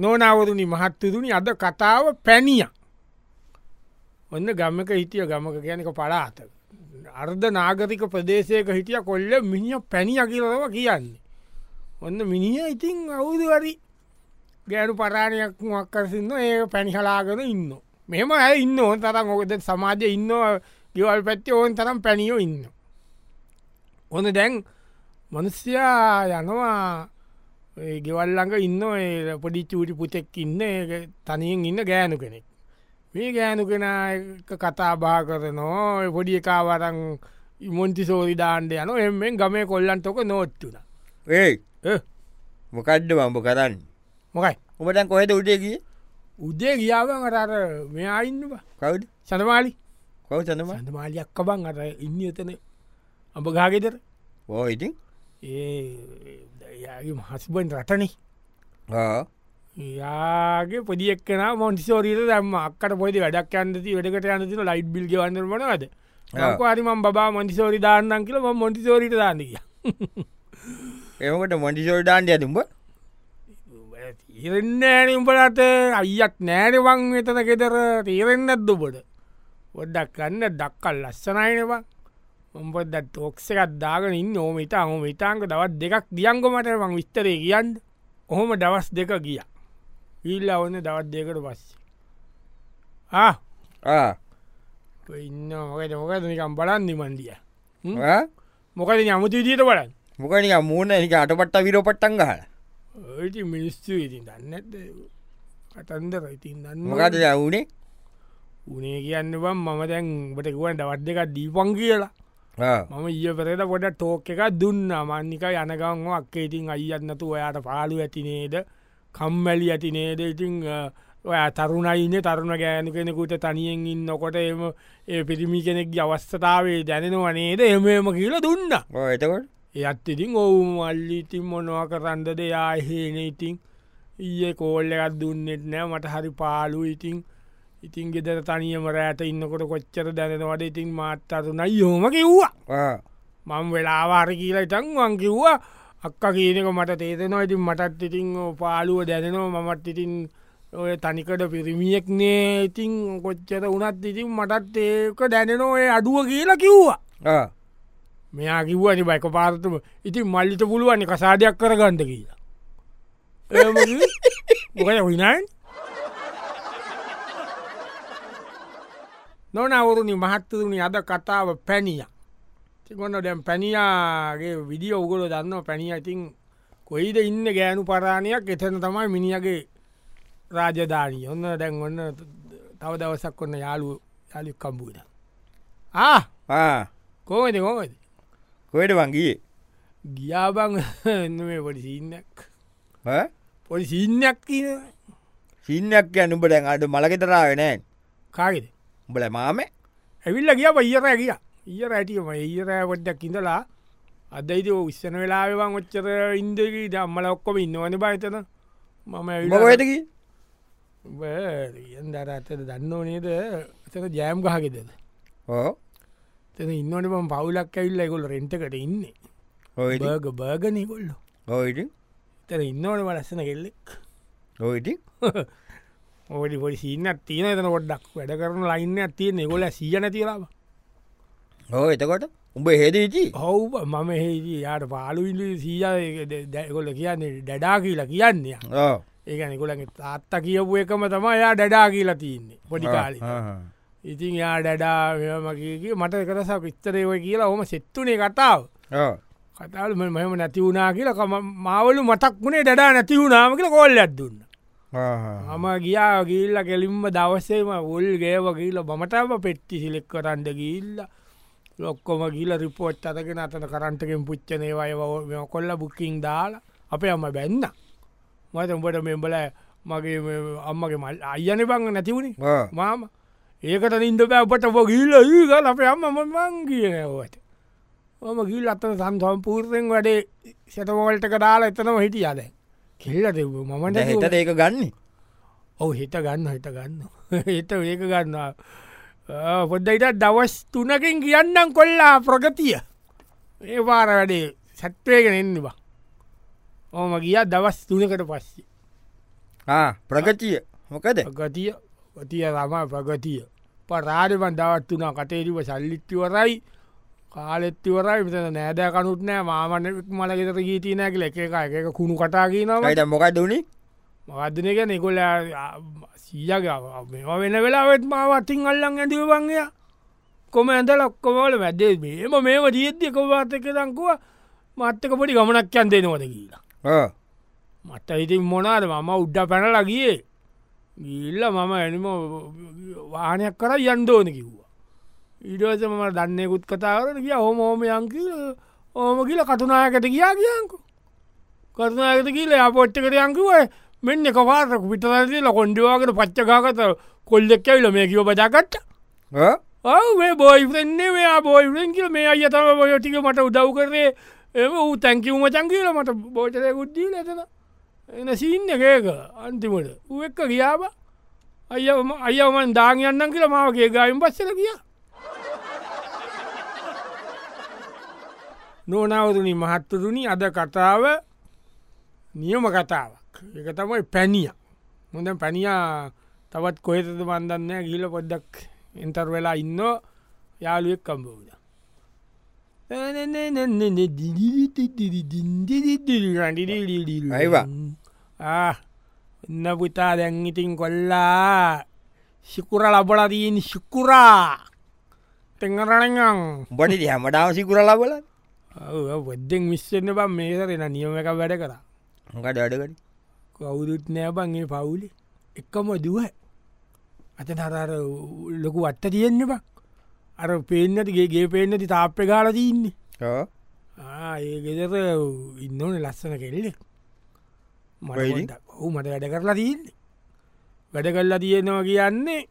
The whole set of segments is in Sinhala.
නෝනවරුණි මහත්තුරුණි අද කතාව පැණිය ඔන්න ගමක හිටිය ගමක ගැනක පලාත අර්ධ නාගරික ප්‍රදේශයක හිටිය කොල්ල මිනිිය පැණිය කිරව කියන්නේ ඔන්න මිනිිය ඉතින් අවුදුවරි ගෑනු පරාණයක් මක්කරසින්න ඒ පැණිහලාගෙන ඉන්න මෙම ඇ ඉන්න ඕන් තරම් ඕකද සමාජය ඉන්න ගවල් පැත්ති ඕන් තරම් පැණියෝ ඉන්න ඕොන දැන් මනුස්්‍යයා යනවා ඒ ගෙවල්ලඟ ඉන්න ඒ පොඩි චූටි පුතෙක් ඉන්න ඒ තනියෙන් ඉන්න ගෑනු කෙනෙක් මේ ගෑනු කෙන කතා බා කරනවා ඒ පොඩි එකාවරන් ඉමොන්ති සෝරි දාන්ඩ යන එෙන් ගමේ කොල්ලන්ටොක නොත්තුන ඒ මොකඩ්ඩ මම්බ කරන්න මොකයි ඔමටන් කොහෙද උඩේගිය උදේ ගියාවන් අරර මෙයා ඉන්නවා කව් සඳමාලි කව සඳම සඳමාලියක් කබන් අර ඉන්න එතන අඹ ගාගෙතර ඕ ඉතින් ඒ යාගේ මහස්බන් රටනේ ආ. යාගේ පොඩික්න මොන්ටිසෝරීට දම්ම අක්කට පොද වැඩක් අන්ති වැඩකට අනතින ලයිට් බිල් වන්න වනද ආ. හරිම බා මොන්ටිසෝරි දාන්නන් කියල මොන්ටිසෝරිට දාන්නක එමකට මොඩිසෝල්ඩාන්ඩය තුම්බ ඉරෙන්නෑන උඹලට අයියක් නෑනවන් එතන ගෙතර තීරෙන්න්නත් දුබට ඔොඩ්ඩක් කන්න දක්කල් ලස්සනයිනවා උඹද තෝක්ස එකත් දාගෙන ඉන්න ඕමතා හොම ඉතාංක දවත් දෙකක් දියංගොමට මං විස්තරේ කියන්න ඔහොම දවස් දෙක ගිය ඉල්ල ඔන්න දවත් දෙකට පස්සේ ඉන්න මොකද මොකද නිකම් බලන් නිමන්දිය මොකද අමුතු විදිීට බලන්න මොකනික මූුණ එක අටපට්ට විරෝපට්ටන් ගහල ඒති මිනිස්සු ඉතින් දන්න ඇත කටන්දර ඉතින් දන්න මොකද වුණේ උනේ කියන්න බම් මම දැන් බට ගුවන් දවත් දෙක දීපන් කියලා ආ. මම ඊය පෙරට පොඩ ටෝක් එකක් දුන්න මන්නික යනකං අක්කේ ඉතින් අයියන්නතු ඔයාට පාලු ඇතිනේද කම්මැලි ඇතිනේද ඉතිං ඔය තරුණයින්න තරුණ ගෑනු කෙනෙකුට තනියෙන් ඉන්නකොට එම ඒ පිරිමි කෙනෙක් අවස්ථතාවේ දැනෙනවා නේද එමම කියලා දුන්න ඕ එතකොට එත් ඉතින් ඔවු මල්ලි ඉතින් මොනවා කරන්ද දෙයා හේන ඉතින් ඊයේ කෝල්ල එකත් දුන්නෙත් නෑ මට හරි පාලු ඉතින් ඉතින් ගෙදර තනියම රෑට ඉන්නකොට කොච්චර දැනවද ඉතින් මාත්තරුන යෝම කිව්වා ආ. මං වෙලාවාර කියලා ඉතන් වන් කිව්වා අක්ක කියනක මට තේතෙනවා ඉතින් මටත් ඉතින් ඔය පාලුව දැනෙනවා මමත් ඉතින් ඔය තනිකට පිරිමියෙක් නේ ඉතින් කොච්චර වනත් ඉතින් මටත් ඒක දැනෙනෝ ඔය අඩුව කියලා කිව්වා ආ. මෙයා කිව්වනි බයික පාරතුම ඉතින් මල්ලිත පුළුවන් කසාදයක් කරගන්ද කියලා එම මොකද විනයින් නොනවරුණි මහත්තරුණි අද කතාව පැණිය තිකොන්න දැම් පැණියාගේ විඩිය ඔගුල දන්න පැණිය ඉතින් කොයිද ඉන්න ගෑනු පරාණයක් එතන තමයි මිනිියගේ රාජධානී ඔන්න දැන් ඔන්න තව දවසක් ඔන්න යාලු යාලි කම්බූද ආ ආ. කෝමද කෝමද කොහෙට වංගියේ ගියාබං මේ පොඩි සින්නක් පොඩි සින්නයක් කියන සින්නක් යනුඹට අඩ මලකෙතරාවෙනෑ කාගෙද උඹල මාම ඇවිල්ල ගිය පයිරෑ කිය ඊය රැටියම ඒරෑ පොඩ්ඩක් ඉඳලා අදයිද විස්සන වෙලාවන් ඔච්චර ඉන්දකී දම්මල ඔක්කොම ඉන්නවන බහිතන මම මොකටකි දර ඇතට දන්න නේද එතක ජෑම් ගහගෙදද ඕ තෙන ඉන්නට ම පවුලක් ඇවිල්ල ගොල රෙන්ටකට ඉන්නේ ඔයිට බර්ග බර්ගනයකොල්ල ඕයිට තර ඉන්නවට වලස්සන කෙල්ලෙක් ඕයිට ඕඩි පොඩි සිීන්න තියන තන ොඩක් වැඩ කරන ලයින්න තිය නෙගොල සීජන තිරාව ඕ එතකොට උඹ හෙදීචි හව් මම හෙදී යාට පාලුවිල්ල සීජයකොල කියන්නේ ඩඩා කියලා කියන්නේ ඕ ඒක නිකොලගේ තාත්තා කියපු එකම තම යා ඩඩා කියලා තියන්නේ පොඩි කාලි ඉතින් යා ඩඩා මගේ මට කරසා පිත්තරයව කියලා හොම සෙත්තුනේ කතාව ඕ කතාල මෙම නැති වුණනා කියලා මාවලු මතක් වුණේ ඩඩා නැති වුණනාම කියලා කෝල් ඇත්දුන්න හම ගියා ගිල්ල කෙලින්ම දවසේම උල් ගේව කියීල බමටම පෙට්ටි සිලෙක් කරන්ඩ ගිල්ල ලොක්කොම ගිල රිපෝට් අතක අතන කරන්ටකෙන් පුච්චනේවය කොල්ල බුකින් දාලා අපේ අම්ම බැන්න මත උඹට මෙම්බල මගේ මේ අම්මගේ මල් අයන බංග නැතිවුණේ මාම ඒකට නින්ද බෑ ඔබට ඔබ ගිල්ල ඒගල් අප අම්ම මං කියනවට මම ගිල් අත්තන සම්සම්පූර්යෙන් වැඩේ සැතවෝල්ටක දාලා එතනම හිටිය අද කෙල්ලට මමට හිත ඒක ගන්න ඔව හිත ගන්න හිත ගන්න හිත ඒක ගන්නවා පොද්දයිට දවස් තුනකින් කියන්නම් කොල්ලා ප්‍රගතිය ඒ වාර වැඩේ සැත්වයගෙන එන්නවා ඕම ගිය දවස් තුනකට පස්සේ ආ ප්‍රගතිය මොකද ගතිය ගතිය තම ප්‍රගතිය පරාර බන්ධාවත් වනා කතේරිව සල්ලිත්තිවරයි කාලෙත්තිවරයි මෙත නෑදෑ කනුත් නෑ මාමනෙක් මලගෙතර ගීතිනෑ කියල එක එක එක එක කුණු කටා කියනව අයිත මොකයි දුණි මවදනක නිකොල ah, සීජගාව මෙම වෙන වෙලාවෙත් මාවත්තින් අල්ලන් ඇඳවවන්ගේ කොම ඇඳ ලක්කොමවල වැදේ මේම මේම දියද්‍ය කොවාතක දංකුව මත්තක පොඩි ගමනක් යන්දෙනවද කියලා මට ඉතින් මොනාද මම උඩ්ඩ පැනල ගියේ ගිල්ල මම එනිම වානයක් කර යන්දෝන කිව්වා ඊඩස මම දන්නෙකුත් කතාවරට කිය හොම හෝම යංකි ඕම කියල කතුනායකට කියා කියංකු කරුණයකට කියල අපපොච්චකට යංකිව මෙන්න කවාරක පිටරදිල කොන්ඩිවාකට පච්චකාකත කොල්ලෙක් ඇවිල මේ කියව පජාකට්ට ඔව මේ බෝයිෆරෙන්න්නේ මෙයා බෝයිෆරෙන් කියල මේ අය තම බොය ටික මට උදව් කරේ එම ඌ තැංකිවම චංකීල මට බෝචරය ගුද්දී ලතන එන සිීන්න එකේක අන්තිමට ඌ එක්ක ගියාව අයම අයමන් දාගයන්නන් කියල මාවගේ ගයිම් පස්සල කියා නෝනවතුනි මහත්තතුනි අද කතාව නියම කතාවක් එක තමයි පැණිය මොඳ පැනියා තවත් කොහෙතද බන්දන්න ගිල පොද්දක් එන්තර් වෙලා ඉන්න යාළුවෙක් කම්බෝද අයිවා. එන්න පුතා දැන්ඉතින් කොල්ලා සිකුර ලබලදීන් සිකුරා තෙරණගං බොඩි දිහ මඩාව සිකුර ලබල වෙද්දෙන් විස්සන්න බම් මේතරෙන නියම එක වැඩ කර මොකට වැඩකට කවුරුත් නෑබන්ගේ පවුලි එක්කම දුව අත නරර ලොකු වත්ත තියෙන්න්න බක් අර පේනතිගේගේ පේනති තාප්ප කාල තියන්නේ ආ, ඒ ගෙදර ඉන්නවන ලස්සන කෙල්ලෙක් වෙයිද? මට ඔහු මට වැඩ කරලා තියන්නේ වැඩ කල්ලා තියෙනවා කියන්නේ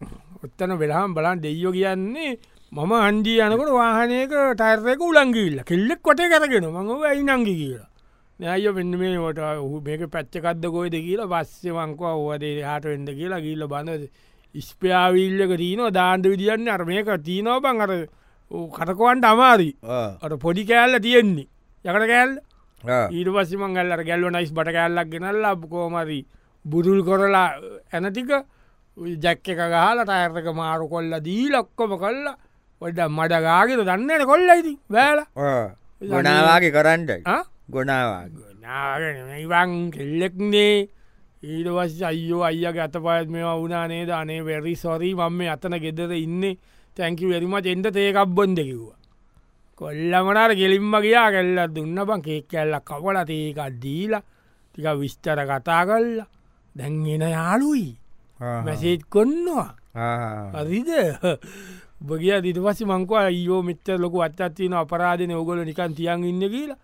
ඔත්තන වෙලාම් බලන් දෙයෝ කියන්නේ මම අන්ජී යනකට වාහනයක ටර්යක උලංගිල්ල කෙල්ලෙක් කොට කරගෙන මඟ ඇයි නංගි කියලා නෑය පෙන්න්න මේ වට ඔහු මේක පැච්චකක්ද කොයිද කියලා බස්සවංකවා ඕවදේ හට වෙන්ඩ කියලා ගිල්ල බඳ ඉස්පයාවිල්ලක තියනවා දාන්ඩ විදිියන්න අර මේක තියනව බං අර කටකොවන්ට අමාරී අට පොඩි කෑල්ල තියෙන්නේ යකට කෑල් ඊට පස්සිමන් ගල්ලට ගැල්ලව නයිස් බට කෑල්ලක් ගෙනල්ලා කෝමරී බුදුල් කොරලා ඇනතික ජැක්ක එක ගහලට අඇතක මාරු කොල්ල දී ලොක්කොම කල්ලා ඔඩ මඩගාගෙන දන්නට කොල්ල ඉති බෑල ගොනාවාගේ කරන්ට ගොනාවා ඉවන් කෙල්ලෙක්නේ ඊට වස් අයෝ අයගේ අත පයත් මේ වුනානේ ධනේ වැරි සොරී මම අතන ගෙදර ඉන්න තැංකි වැරිම චෙන්ට තේකක්්බොන් දෙකිව්වා කොල්ලමනට ගෙලින්ම ගියා කෙල්ල දුන්න බං කේක් කැල්ල කවල තේකක් දීලා ටික විස්්චර කතා කල්ලා දැන්ගෙන යාලුයි මැසේත් කොන්නවා හරිද බගිය දිට පස්ස මංකව අයෝ මෙච්ච ලොක අත්තත්වන අපරාධන ඔගොල නිකන් තියන් ඉන්න කියලා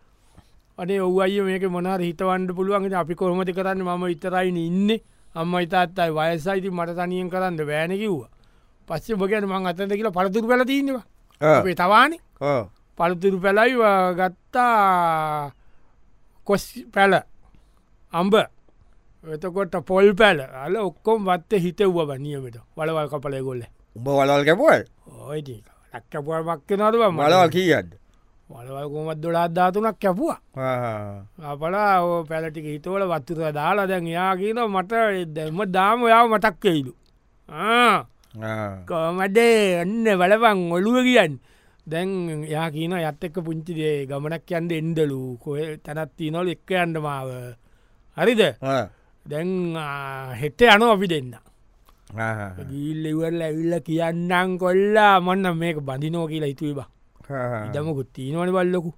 අනේ ඔව අය මේක මොනාර හිතවන්ඩ පුළුවන්ගෙන අපි කොහොමති කරන්න මම ඉතරයින ඉන්න අම්ම ඉතාත්තයි වයසයිති මට තනියෙන් කරන්න බෑන කිව්වා පස්සේ බගන මං අතට කියලා පරතුරු පැල තිීන්නවා අපේ තවානේ පළතුරු පැලයි ගත්තා කොස් පැල අම්බ එතකොට පොල් පැල අල ඔක්කොම් වත්ත හිතව්ව බනියමට වලවල් කපල ගොල්ල උඹ වලල් කැපුවල් ඕයි ලක්කපුුවමක් නරව මලවල් කීයද වලවල් කොමත් දොලාත්ධාතුනක් කැපුවා අපලා ඕ පැලටික හිතවල වත්තුර දාලා දැන් යා කියන මට දැම දාම ඔයාව මතක්කෙයිලු ආ කොමඩේ එන්න වලවන් ඔලුව කියන් දැන් යා කියන යත් එක්ක පුංචිදේ ගමනක් යන්ද එන්ඩලු කොය තැනත්ති නොල එක්ක අන්ඩමාව හරිද දැන් හෙට යනු අපි දෙන්න ගිල්ලිවල් ඇවිල්ල කියන්නම් කොල්ලා මන්න මේක බඳිනෝ කියලා හිතුවබා දම ගුත්තිීනවන බල්ලොකු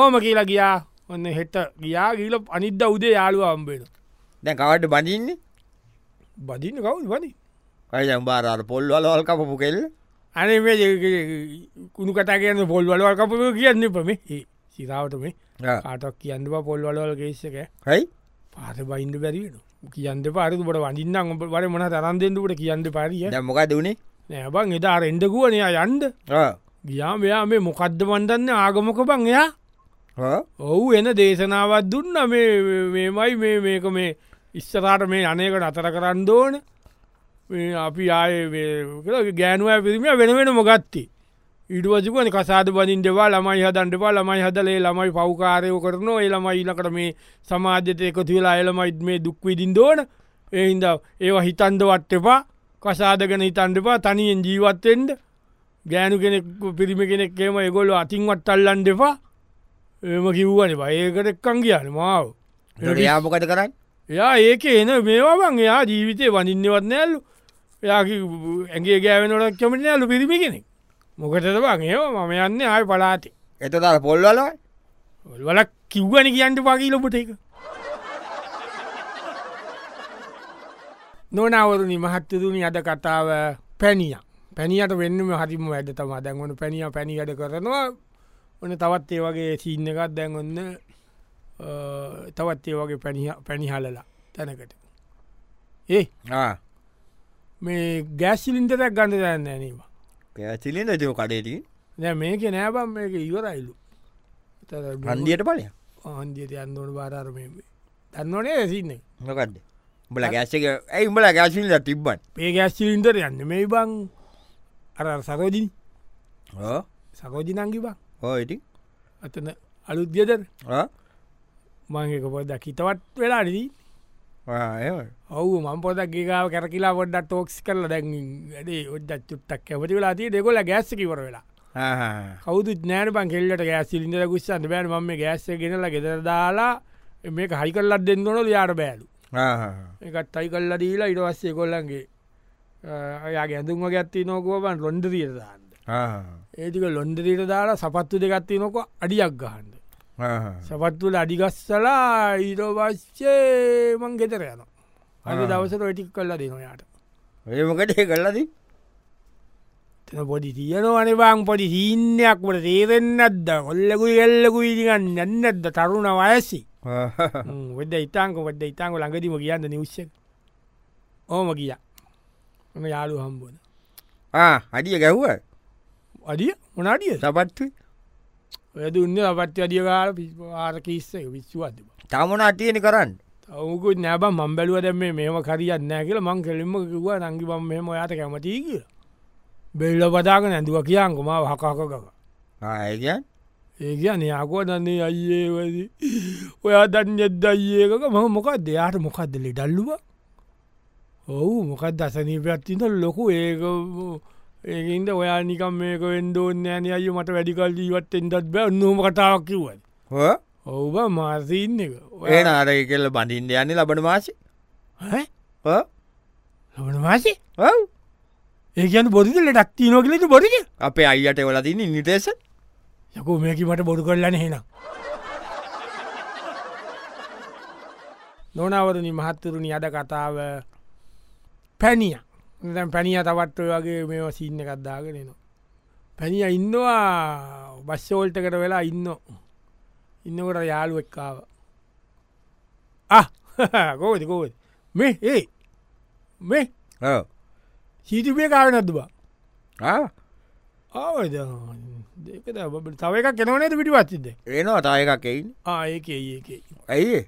ඕම කියලා ගියා ඔන්න හෙට ගියා ගීල අනිද්ද උදේ යාලුව අම්බේෙන දැ කවට බඳින්නේ බදින්න කවුල් වනි කයි බාරර පොල් වලවල් කපපු කෙල්ල අනේ මේ ඒ- කුණු කතා කියන්න පොල් වලවල් කපපු කියන්න පම සිරාවට මේ කාටක් කියන්න පොල් වලවල් ගේේසක හයි පාස බයින්ඩ බැරිෙන කියන්න පාරතුට වඩින්න ඔබ වර මන තරන්දෙන්ටට කියන්න පාරිය දැ මොකද වුණේ නෑබං එදා රෙන්ඩකුවනයා යන්ඩ ගියා මෙයා මේ මොකක්ද වන්දන්න ආගමක බං එයා ඔහු එන දේශනාවත් දුන්න මේ මේමයි මේ මේක මේ ඉස්සරාට මේ අනයකට අතර කරන්න ඕන මේ අපි ආය ගෑනුව පිරිම වෙන වෙන මොගත්ති ඉඩුවජුවන කසාද බදින් දෙවා ළමයි හදන්ටවා ළමයි හදලේ ළමයි පෞකාරයෝ කරන එළමයි ඉලකට මේ සමාජතයක තුවෙලා එළමයිත් මේ දුක්විදිින් දෝන එහින්ද ඒවා හිතන්දවත් එපා කසාදගෙන හිතන්ඩපා තනියෙන් ජීවත්තෙන්ට ගෑනු කෙනෙක් පිරිමි කෙනෙක් එම එගොලු අතින්වත් අල්ලන් දෙපා එම කිව්වන ඒකටක්කන් කියන්න මාව යාමකට කරන්න එයා ඒක එන මේවාමන් එයා ජීවිතය වනින්නවත් නෑල්ලු එයා කිව්- ඇගේ ගෑවෙනොටක් කමට නෑලු පිරිමි කෙනෙක් මොකටදවන් ඒ මම යන්න ආය පලාති එතතර පොල්වලයි වලක් කිව්වන කියන්ට පකී ලොපට එක නොනවරුණනි මහත්තතුනි අද කතාව පැණිය පැනිියට වෙන්නම හරිම ඇද තම දැන්වන පැනිිය පැණියට කරනවා ඔන තවත් ඒ වගේ සීන්න එකත් දැන්ගන්න තවත් ඒ වගේ පැණිහ- පැණිහලලා තැනකට ඒ මේ ගෑස්සිලින්ටරක් ගන්න දන්න ඇනවා සිලින් ජව කඩේටී දැ මේක නෑබම් මේක ඉවරයිලු රන්දියට පලය හන්දියට යන්නඕන බාරමේ දන්නවනේ ඇසින්නේ නොකක්ද බල ගෑසක ඇයි උඹල ගෑසිල්ල තිබ්බන් පේගැස්සිලින්ටර යන්න මේ බං අර සරෝජින් සකෝජිනංගි බං හෝයිටි අතන අලුද්‍යතර මංක පොද කිතවත් වෙලාදී ඔවු මම පොද ගේකාව කැරකිලා පොඩ්ඩ ටෝක්ස් කරල දැන් වැඩේ ඔඩ්ඩ චුට්ටක් ඇමති වෙලාතිේ දෙකොල ගැස්සකිවර වෙලා කවුතු නෑන පන් කෙල්ලට ගෑස්සිලින්ට ගුස්සන්න බෑන ම මේ ගෑස්ස ගෙනල ගෙදර දාලා මේ හයි කරලත් දෙන්නොන යාට බෑලු එකත් අයි කල්ල දීලා ඉටවස්සේ කොල්ලන්ගේ අය ගැඳුම ගැත්ති නොකුවන් ලොන්ඩරීට දාන්න ඒතික ලොන්ඩරීට දාලා සපත්තු දෙගත්ති නොක අඩියක් ගහන්ද සපත්තුල අඩිගස්සලා ඊටවශ්‍යය මං ගෙතර යන අද ආ. දවසට වැටික් කල්ලා දෙනොයාට ඒමකට කල්ලදී තන පොඩි තියනවනේ බං පොඩි සීන්නයක් වට තේරෙන්න්නත්ද ඔල්ලකුයි එල්ලකු ඉදිගන්න යන්නද තරුණ වයසි වෙද ඉතාංක වෙද ඉතාංක ලඟදීම කියන්න නිවශ්‍ය ඕම කිය ම යාලු හම්බෝන අඩිය ගැව්ව අඩිය මොනඩිය සපත්තු වැදුන්න අපත්්‍ය අඩියකාල පිස්වාර කිස්සක විශ්වාදම තමන අතියෙන කරන්න ඔවකුත් නැබ මම් බැලුව දැම මේම කරියන්න කියල මං කෙලින්ම කිව නංගි පම් මෙම ඔයාට කැමතිී කිය බෙල්ල පදාග නැදුව කියන්කොම හකාකකක ආයකන් ඒ කියන යාකුව දන්නේ අයේවද ඔයා දන් යද්ද අයේකක ම මොකක් දෙයාට මොකක්ද ලෙඩල්ලුව ඔවු මොකක් දසනීපයක්ත්තිට ලොකු ඒක ඒකන්ද ඔයා නිකම් මේක වෙන්ඩෝන්න ෑන අය මට වැඩිකල් ජීවත් එෙන්ටත් බෑ නොම කතාවක් කිව්වද ඔවබ මාසීන්න එක ඔයා- ඒන අර කෙල්ල බඳින්ඩ යන්නේ ලබන මාසි ඈ? ලබන මාසේ ඔව් ඒකන් බොරිද ලටක්ති නොකිලට බොරිද අපේ අයියට වලදින්න ඉනිටේස යකෝ මේක මට බොරු කරලන හෙන නොනවරණ මහත්තුරුණි අද කතාව පැණිය දැන් පැණිය තවත්ව වගේ මේ සින්න කද්දාගෙනනවා පැණිය ඉන්නවා බස්සෝල්ටකට වෙලා ඉන්න ඉන්නකොට යාලු එක්කාව කෝද කෝද මේ ඒ මේ සීතිපය කාරනත්තුවා ආවද දෙක තව එකක් කෙනවනට පිටි පත්තිද ඒනවා තායකක් එයින් ආයක ඒකයි ඇයි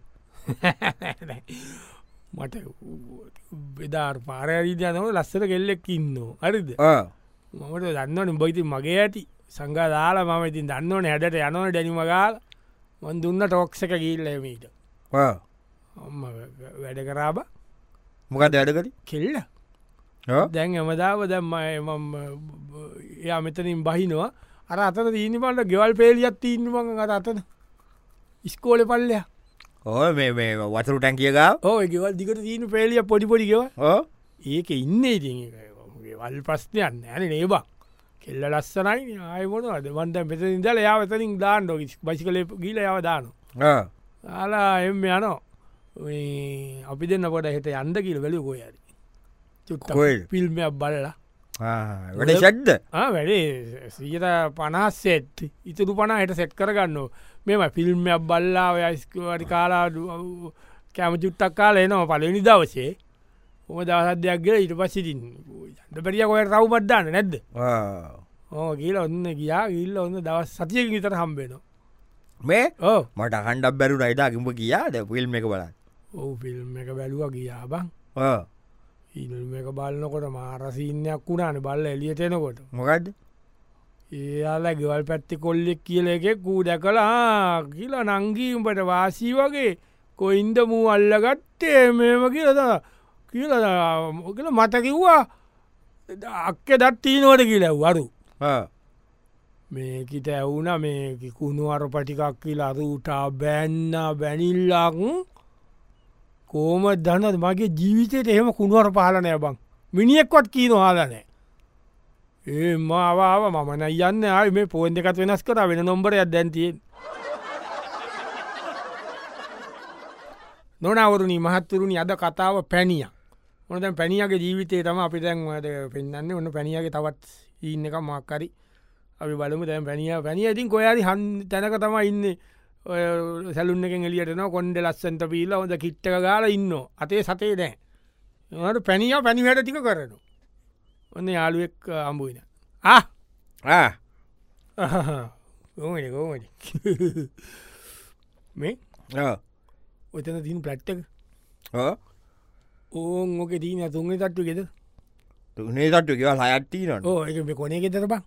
මට බෙදාර් පාරයරීදයනව ලස්සර කෙල්ලෙක් ඉන්න හරිද මමට දන්නවන බයිති මගේ ඇති සංගා දාලා මම ඉතින් දන්නවන හැඩට යනව ඩැනිමගාල මන් දුන්න ටෝක්සක කිල්ලමීට ඔම්ම වැඩ කරාබ මොකද වැඩකරි කෙල්ල දැන් එමදාව දැම්ම එයා මෙතනින් බහිනවා අර අතන දීනි පල්ට ගෙවල් පේලියත් තිීන්නමඟ අර අතන ඉස්කෝල පල්ලයා ඕ මේ මේ වතුරු ටැන්කියගාව ඕ ගෙවල් දිකට දීන පේලිය පොඩිපොඩිගව ඕ ඒත් ඒක ඉන්න ඉති ගෙවල් ප්‍රශ්නයන් ඇන නේබා කෙල්ල ලස්සනයි ආයමොන අදවන්ට පෙත ඉදල යා වෙතනින් දාන්න ො බසි කල ගීල යව දාන ආලා එම යනෝ ඒ අපි දෙන්න පොට හෙට යන්ද කියල වැලි ගොයරි කොහෙද? චුත්ත පිල්මයක් බලලා වැඩ ශද්ද ආ, වැඩේ සීත පනස් සෙට් ඉතුරු පනහයට සෙට් කරගන්න මෙම ෆිල්ම්යක් බල්ලා යස්කවරි කාලා කෑම චුත්තක් කාල එනවා පලනි දවසේ හොම දවසදයක්ගේ ඉට පස්සිටින් ට පරිිය කොය රව්බද්දාන්න නැද්ද ඕ කියල ඔන්න ගියා ඉල්ල ඔන්න දවස් සතියක විතර හම්බෙන මේ ඕ මට හන්ඩක් බැරු නයිතා කිඹ කියාද පිල්ම් එක බලන්න ඕ ෆිල්ම් එක බැලුව ගියා බං ඉල්ම එක බලන්නකොට මාරසිීනයක් වුණාන බල්ල එලියටෙනකොට මොකක්ද ඒයාලා ගෙවල් පැත්ති කොල්ලෙක් කියල එකෙක් කූ දැකලා කියල නංගීම්පට වාසී වගේ කොයින්ද මූ අල්ලගත්තේ මේම කියලද කියල කල මතකිව්වා අක්ක දත්තිීනවට කියලා වරු මේකිට ඇවුන මේ කුණුවර පටිකක් කියලා අරුටා බැන්න බැනිල්ලක් කෝම දන්නද මගේ ජීවිතයට එහෙම කුණුවර පාලනය බං මිනිියෙක්වත් කීන හාලනෑ ඒ මාවාව මමන යන්න ආය මේ පෝන් එකත් වෙනස් කර වෙන නොම්බරයක් දැන්තියෙන් නොනවරුණි මහත්තුරුණි අද කතාව පැණිය මොනද පැණියගේ ජීවිතය තම අපි දැන්වද පෙන්න්න ඔන්න පැණියගේ තවත් ඉන්න එක මක්කරි අපි බලමු දැන් පැනිය පැනිය ඉතින් කොයාරි හන් තැනක තම ඉන්න සැලුන්න එක එලියටන කොන්ඩ ලස්සන්ට පීලා හොඳ කිට්ටක ගාල ඉන්න අතේ සතේ නෑ ඒට පැනිය පැනිවැට ටික කරනු ඔන්න යාළුවෙක් අම්බුයින ආ ගෝමට ගෝමට මේ ඔතන තින් පලට්ටක ඕන් ඕක දීන තුන්ගේ තට්ටු ගෙද තුනේ තට්ටු කියව හයත්තිී නට ඕ එක මේ කොනේ ගෙතර බං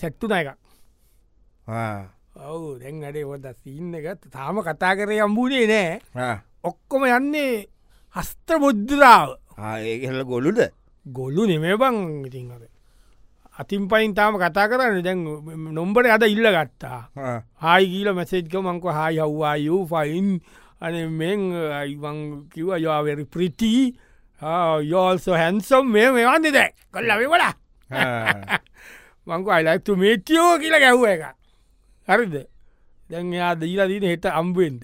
සැට්ටුන එක ඔවු දැන් අඩේ ඔොද සින්න එකත් තාම කතා කරේ අම්බුනේ නෑ ඔක්කොම යන්නේ හස්ත්‍ර බොද්ධරාව ඒහෙල ගොලුද ගොල්ලු නෙමේ බං ඉතින් අද අතින් පයින් තාම කතා කරන්න දැන් නොම්බට අද ඉල්ල ගත්තා හායි කියීල මැසේජ්ක මංක හායි හව්වායූ ෆයින් අන මෙන් අයිවන් කිව යවරි ප්‍රිටි Ah, යෝල්සෝ හැන්සම් මේ මේවාන්ද දැ කල්ලවෙ වල මංක අයිලක්තු මේටියෝ කියල ගැව්ව එක හරිද දැන් එයා දීලා දීන හෙට අම්බුවෙන්ද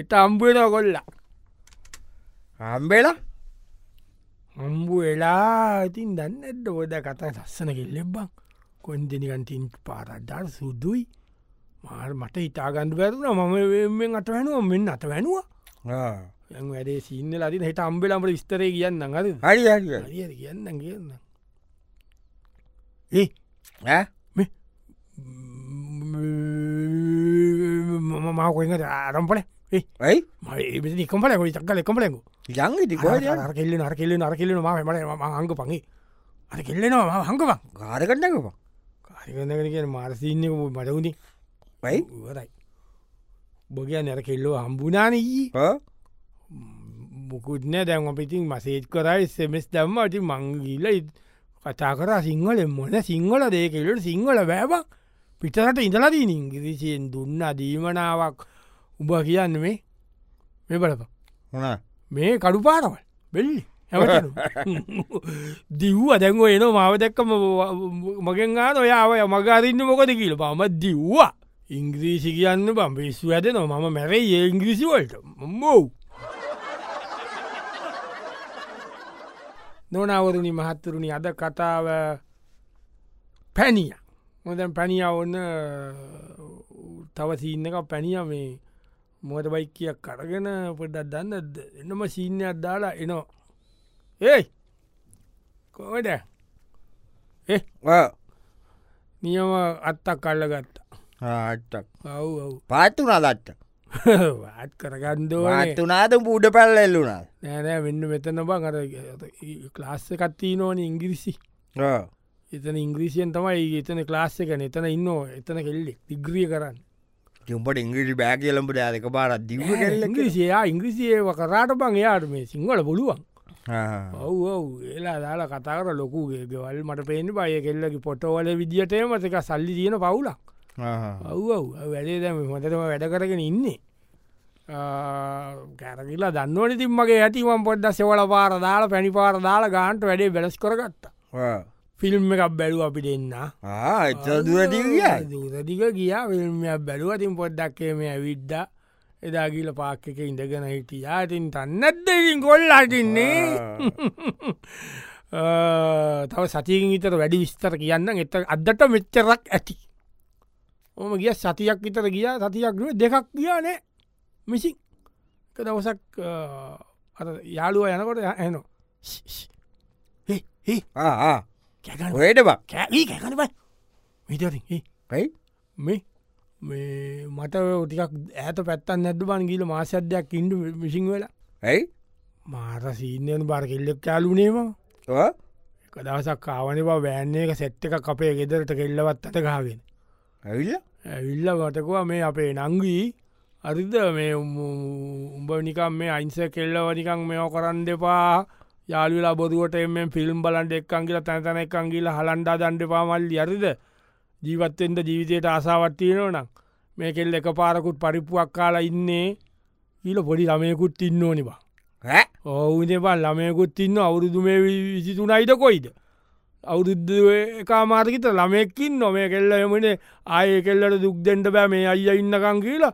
එත අම්බුවෙන කොල්ලා හම්බේලා අම්බු වෙලා ඉතින් දන්න ඇඩ ොද කතා ලස්සන කෙල්ලෙබ්බක් කොන්දනිකන්තින් පාරද්ඩර් සුදුයි මාර මට හිතාගන්ඩ වැරුණ මම අට වැනුව මෙන්න අත වැනවා යන් වැඩේ සින්න ලදින හිට අම්බෙලම්ට විස්තරේ කියන්න අද හරි හරියට කියන්න කියන්න ඒ මම කොයිට ආරම්පල ඒ ඇයි මඒ කොම්පල කොයි චක්කල කොමලෙකු ජංගිති අර කෙල්ල අර කෙල්ල අර කෙල්ල ම මට හංග පගේ අර කෙල්ලෙනවා හංගපක් ගාරකටනකම කාරිගන්නගෙන කියන මාර්සිීන්න මටවුණේ ඇයි වරයි බොග නැර කෙල්ලෝ හම්බුනානී මුකුත්න දැන් අපිතින් මසේත් කරයි සෙමෙස් දැම්ම අති මංගීල කතා කර සිංහල මොන සිංහල දේකෙල්ලට සිංහල බෑවක් පිටරට ඉඳලදී ඉංගිරිසියෙන් දුන්න දීමනාවක් උබ කියන්න මේ මේ බලප හොනා මේ කඩු පාරවල් බෙල්ලි හැමතැනම. දිව්ව දැන්ව එන මාව දැක්කම මගෙන් ආන ඔයාව මගාරන්න මොකද කියල පම දිව්වා ඉංග්‍රීසි කියන්න බම් පිස්සු ඇද නො ම මැරයි ඒ ඉංග්‍රීසි වලට මෝ නොනවරුණි මහත්තුරුණි අද කතාව පැණිය මොදැන් පැණිය ඔන්න තව සිීන්නක පැණිය මේ මොට බයිකයක් කරගෙන පොඩ්ඩක් දන්න ද- එන්නම සිීනයක් දාලා එනවා ඒයි කොමද නියම අත්තක් කල්ල ගත්තා ආටක් ඔව් ඔව් පාත්තුනා දත්ත වාත් කරගන්ඩ වාත්තුනාද පූඩ පැල්ල එල්ලුනා නෑනෑ වෙන්න මෙතන බං අර ක්ලාස්ස කත්ති නෝන ඉංගිරිසි එතන ඉංග්‍රීසියන් තමයි එතන ක්ලාස්ස එක එතන ඉන්න එතන කෙල්ලෙක් ඉග්‍රිය කරන්න ජුම්පට ඉංග්‍රිටි බෑග කියලඹට යාදක පාරත් දිව ඉංග්‍රීසියා ඉංග්‍රීසියව කරාට බං එයාට මේ සිංහල බොලුවන් ඔව් ඔව් එලා දාලා කතාර ලොකුගේ ගෙවල් මට පේෙන් බය කෙල්ලකි පොටෝවල විදිටේම එක සල්ලි තියෙන පවුලක් ඔව් ඔව් වැඩේ දැම හොතටම වැඩ කරගෙන ඉන්නේ කැරකිලා දන්නවන තිම්මගේ ඇතිවම් පොඩ්ඩ සෙවල පාර දාලා පැණි පාර දාලා ගාන්ට වැඩේ වෙනස් කරගත්ත ෆිල්ම් එකක් බැලු අපි දෙන්න එත දුවදීවියයි දූරදික ගියා විල්මයක් බැලුවතින් පොඩ්ඩක්කේ මේ ඇවිද්ද එදාගීල පාක්ක එක ඉඳගෙන හිටියාතින් තන්නත්දකින් කොල්ලාටින්නේ තව සතියකින් විතර වැඩි විස්තර කියන්න එත අදට මෙච්චරක් ඇති ඕම ගිය සතියක් විතර ගියා සතියක් නෙවෙයි, දෙකක් ගියා නෑ මිසි එක දවසක් අ, අර යාළුව යනකොට ඇනෝ කැගන ඔයට බක් කැ කැකන බයි විතරින් ඒ ඇයි මේ මේ මට ටිකක් ඇත පැත්තන් නැද බන් ගීල මාසද්‍යයක් ඉන්ඩ විසිං වෙලා ඇයි මාත සීනයන බර කෙල්ලෙක් යාලුනේම එක දවසක් කාවනවා වෑන්නේ එක සැට් එක අපේ ගෙදරට කෙල්ලවත් අට ගාගෙන ඇවිල්ල ඇවිල්ල වටකවා මේ අපේ නංගී අරිද මේ උම්- උඹ නිකම් මේ අයින්ස කෙල්ලව නිකං මෙෝ කරන්න දෙපා යාලි ලබොදුවට එම ෆිල්ම් බලන්ට එක්කංගිල තැනතන එකංගිල හලන්ඩා දන්ඩපා මල්ලි අරිද ජීවත්තෙන්ට ජීවිතයට ආසාවත්තියනෝ නම් මේ කෙල් එක පාරකුත් පරිප්පුුවක් කාලා ඉන්නේ ඊල පොඩි ළමයකුත් ඉන්න ඕනිවා ඈ? ඔවුනපල් ළමයකුත් ඉන්න අවුරුදු මේ විසිතුනයිට කොයිද අවුරුද්ධ එකමාර්කිත ළමෙක්කින් නොමේ කෙල්ල එමන ආය කෙල්ලට දුක්දෙන්ට බෑ මේ අයිය ඉන්නකං කියලා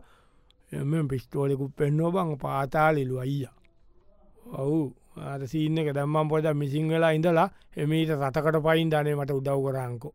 එම පිස්තෝලෙකුත් පෙන්නෝ බං පාතාලිලු අයිය ඔවු අර සීන්න එක දැම්මම් පොට මිසිංහලා ඉඳලා එමීට රටකට පයින් ධනේ මට උදව් කරංකෝ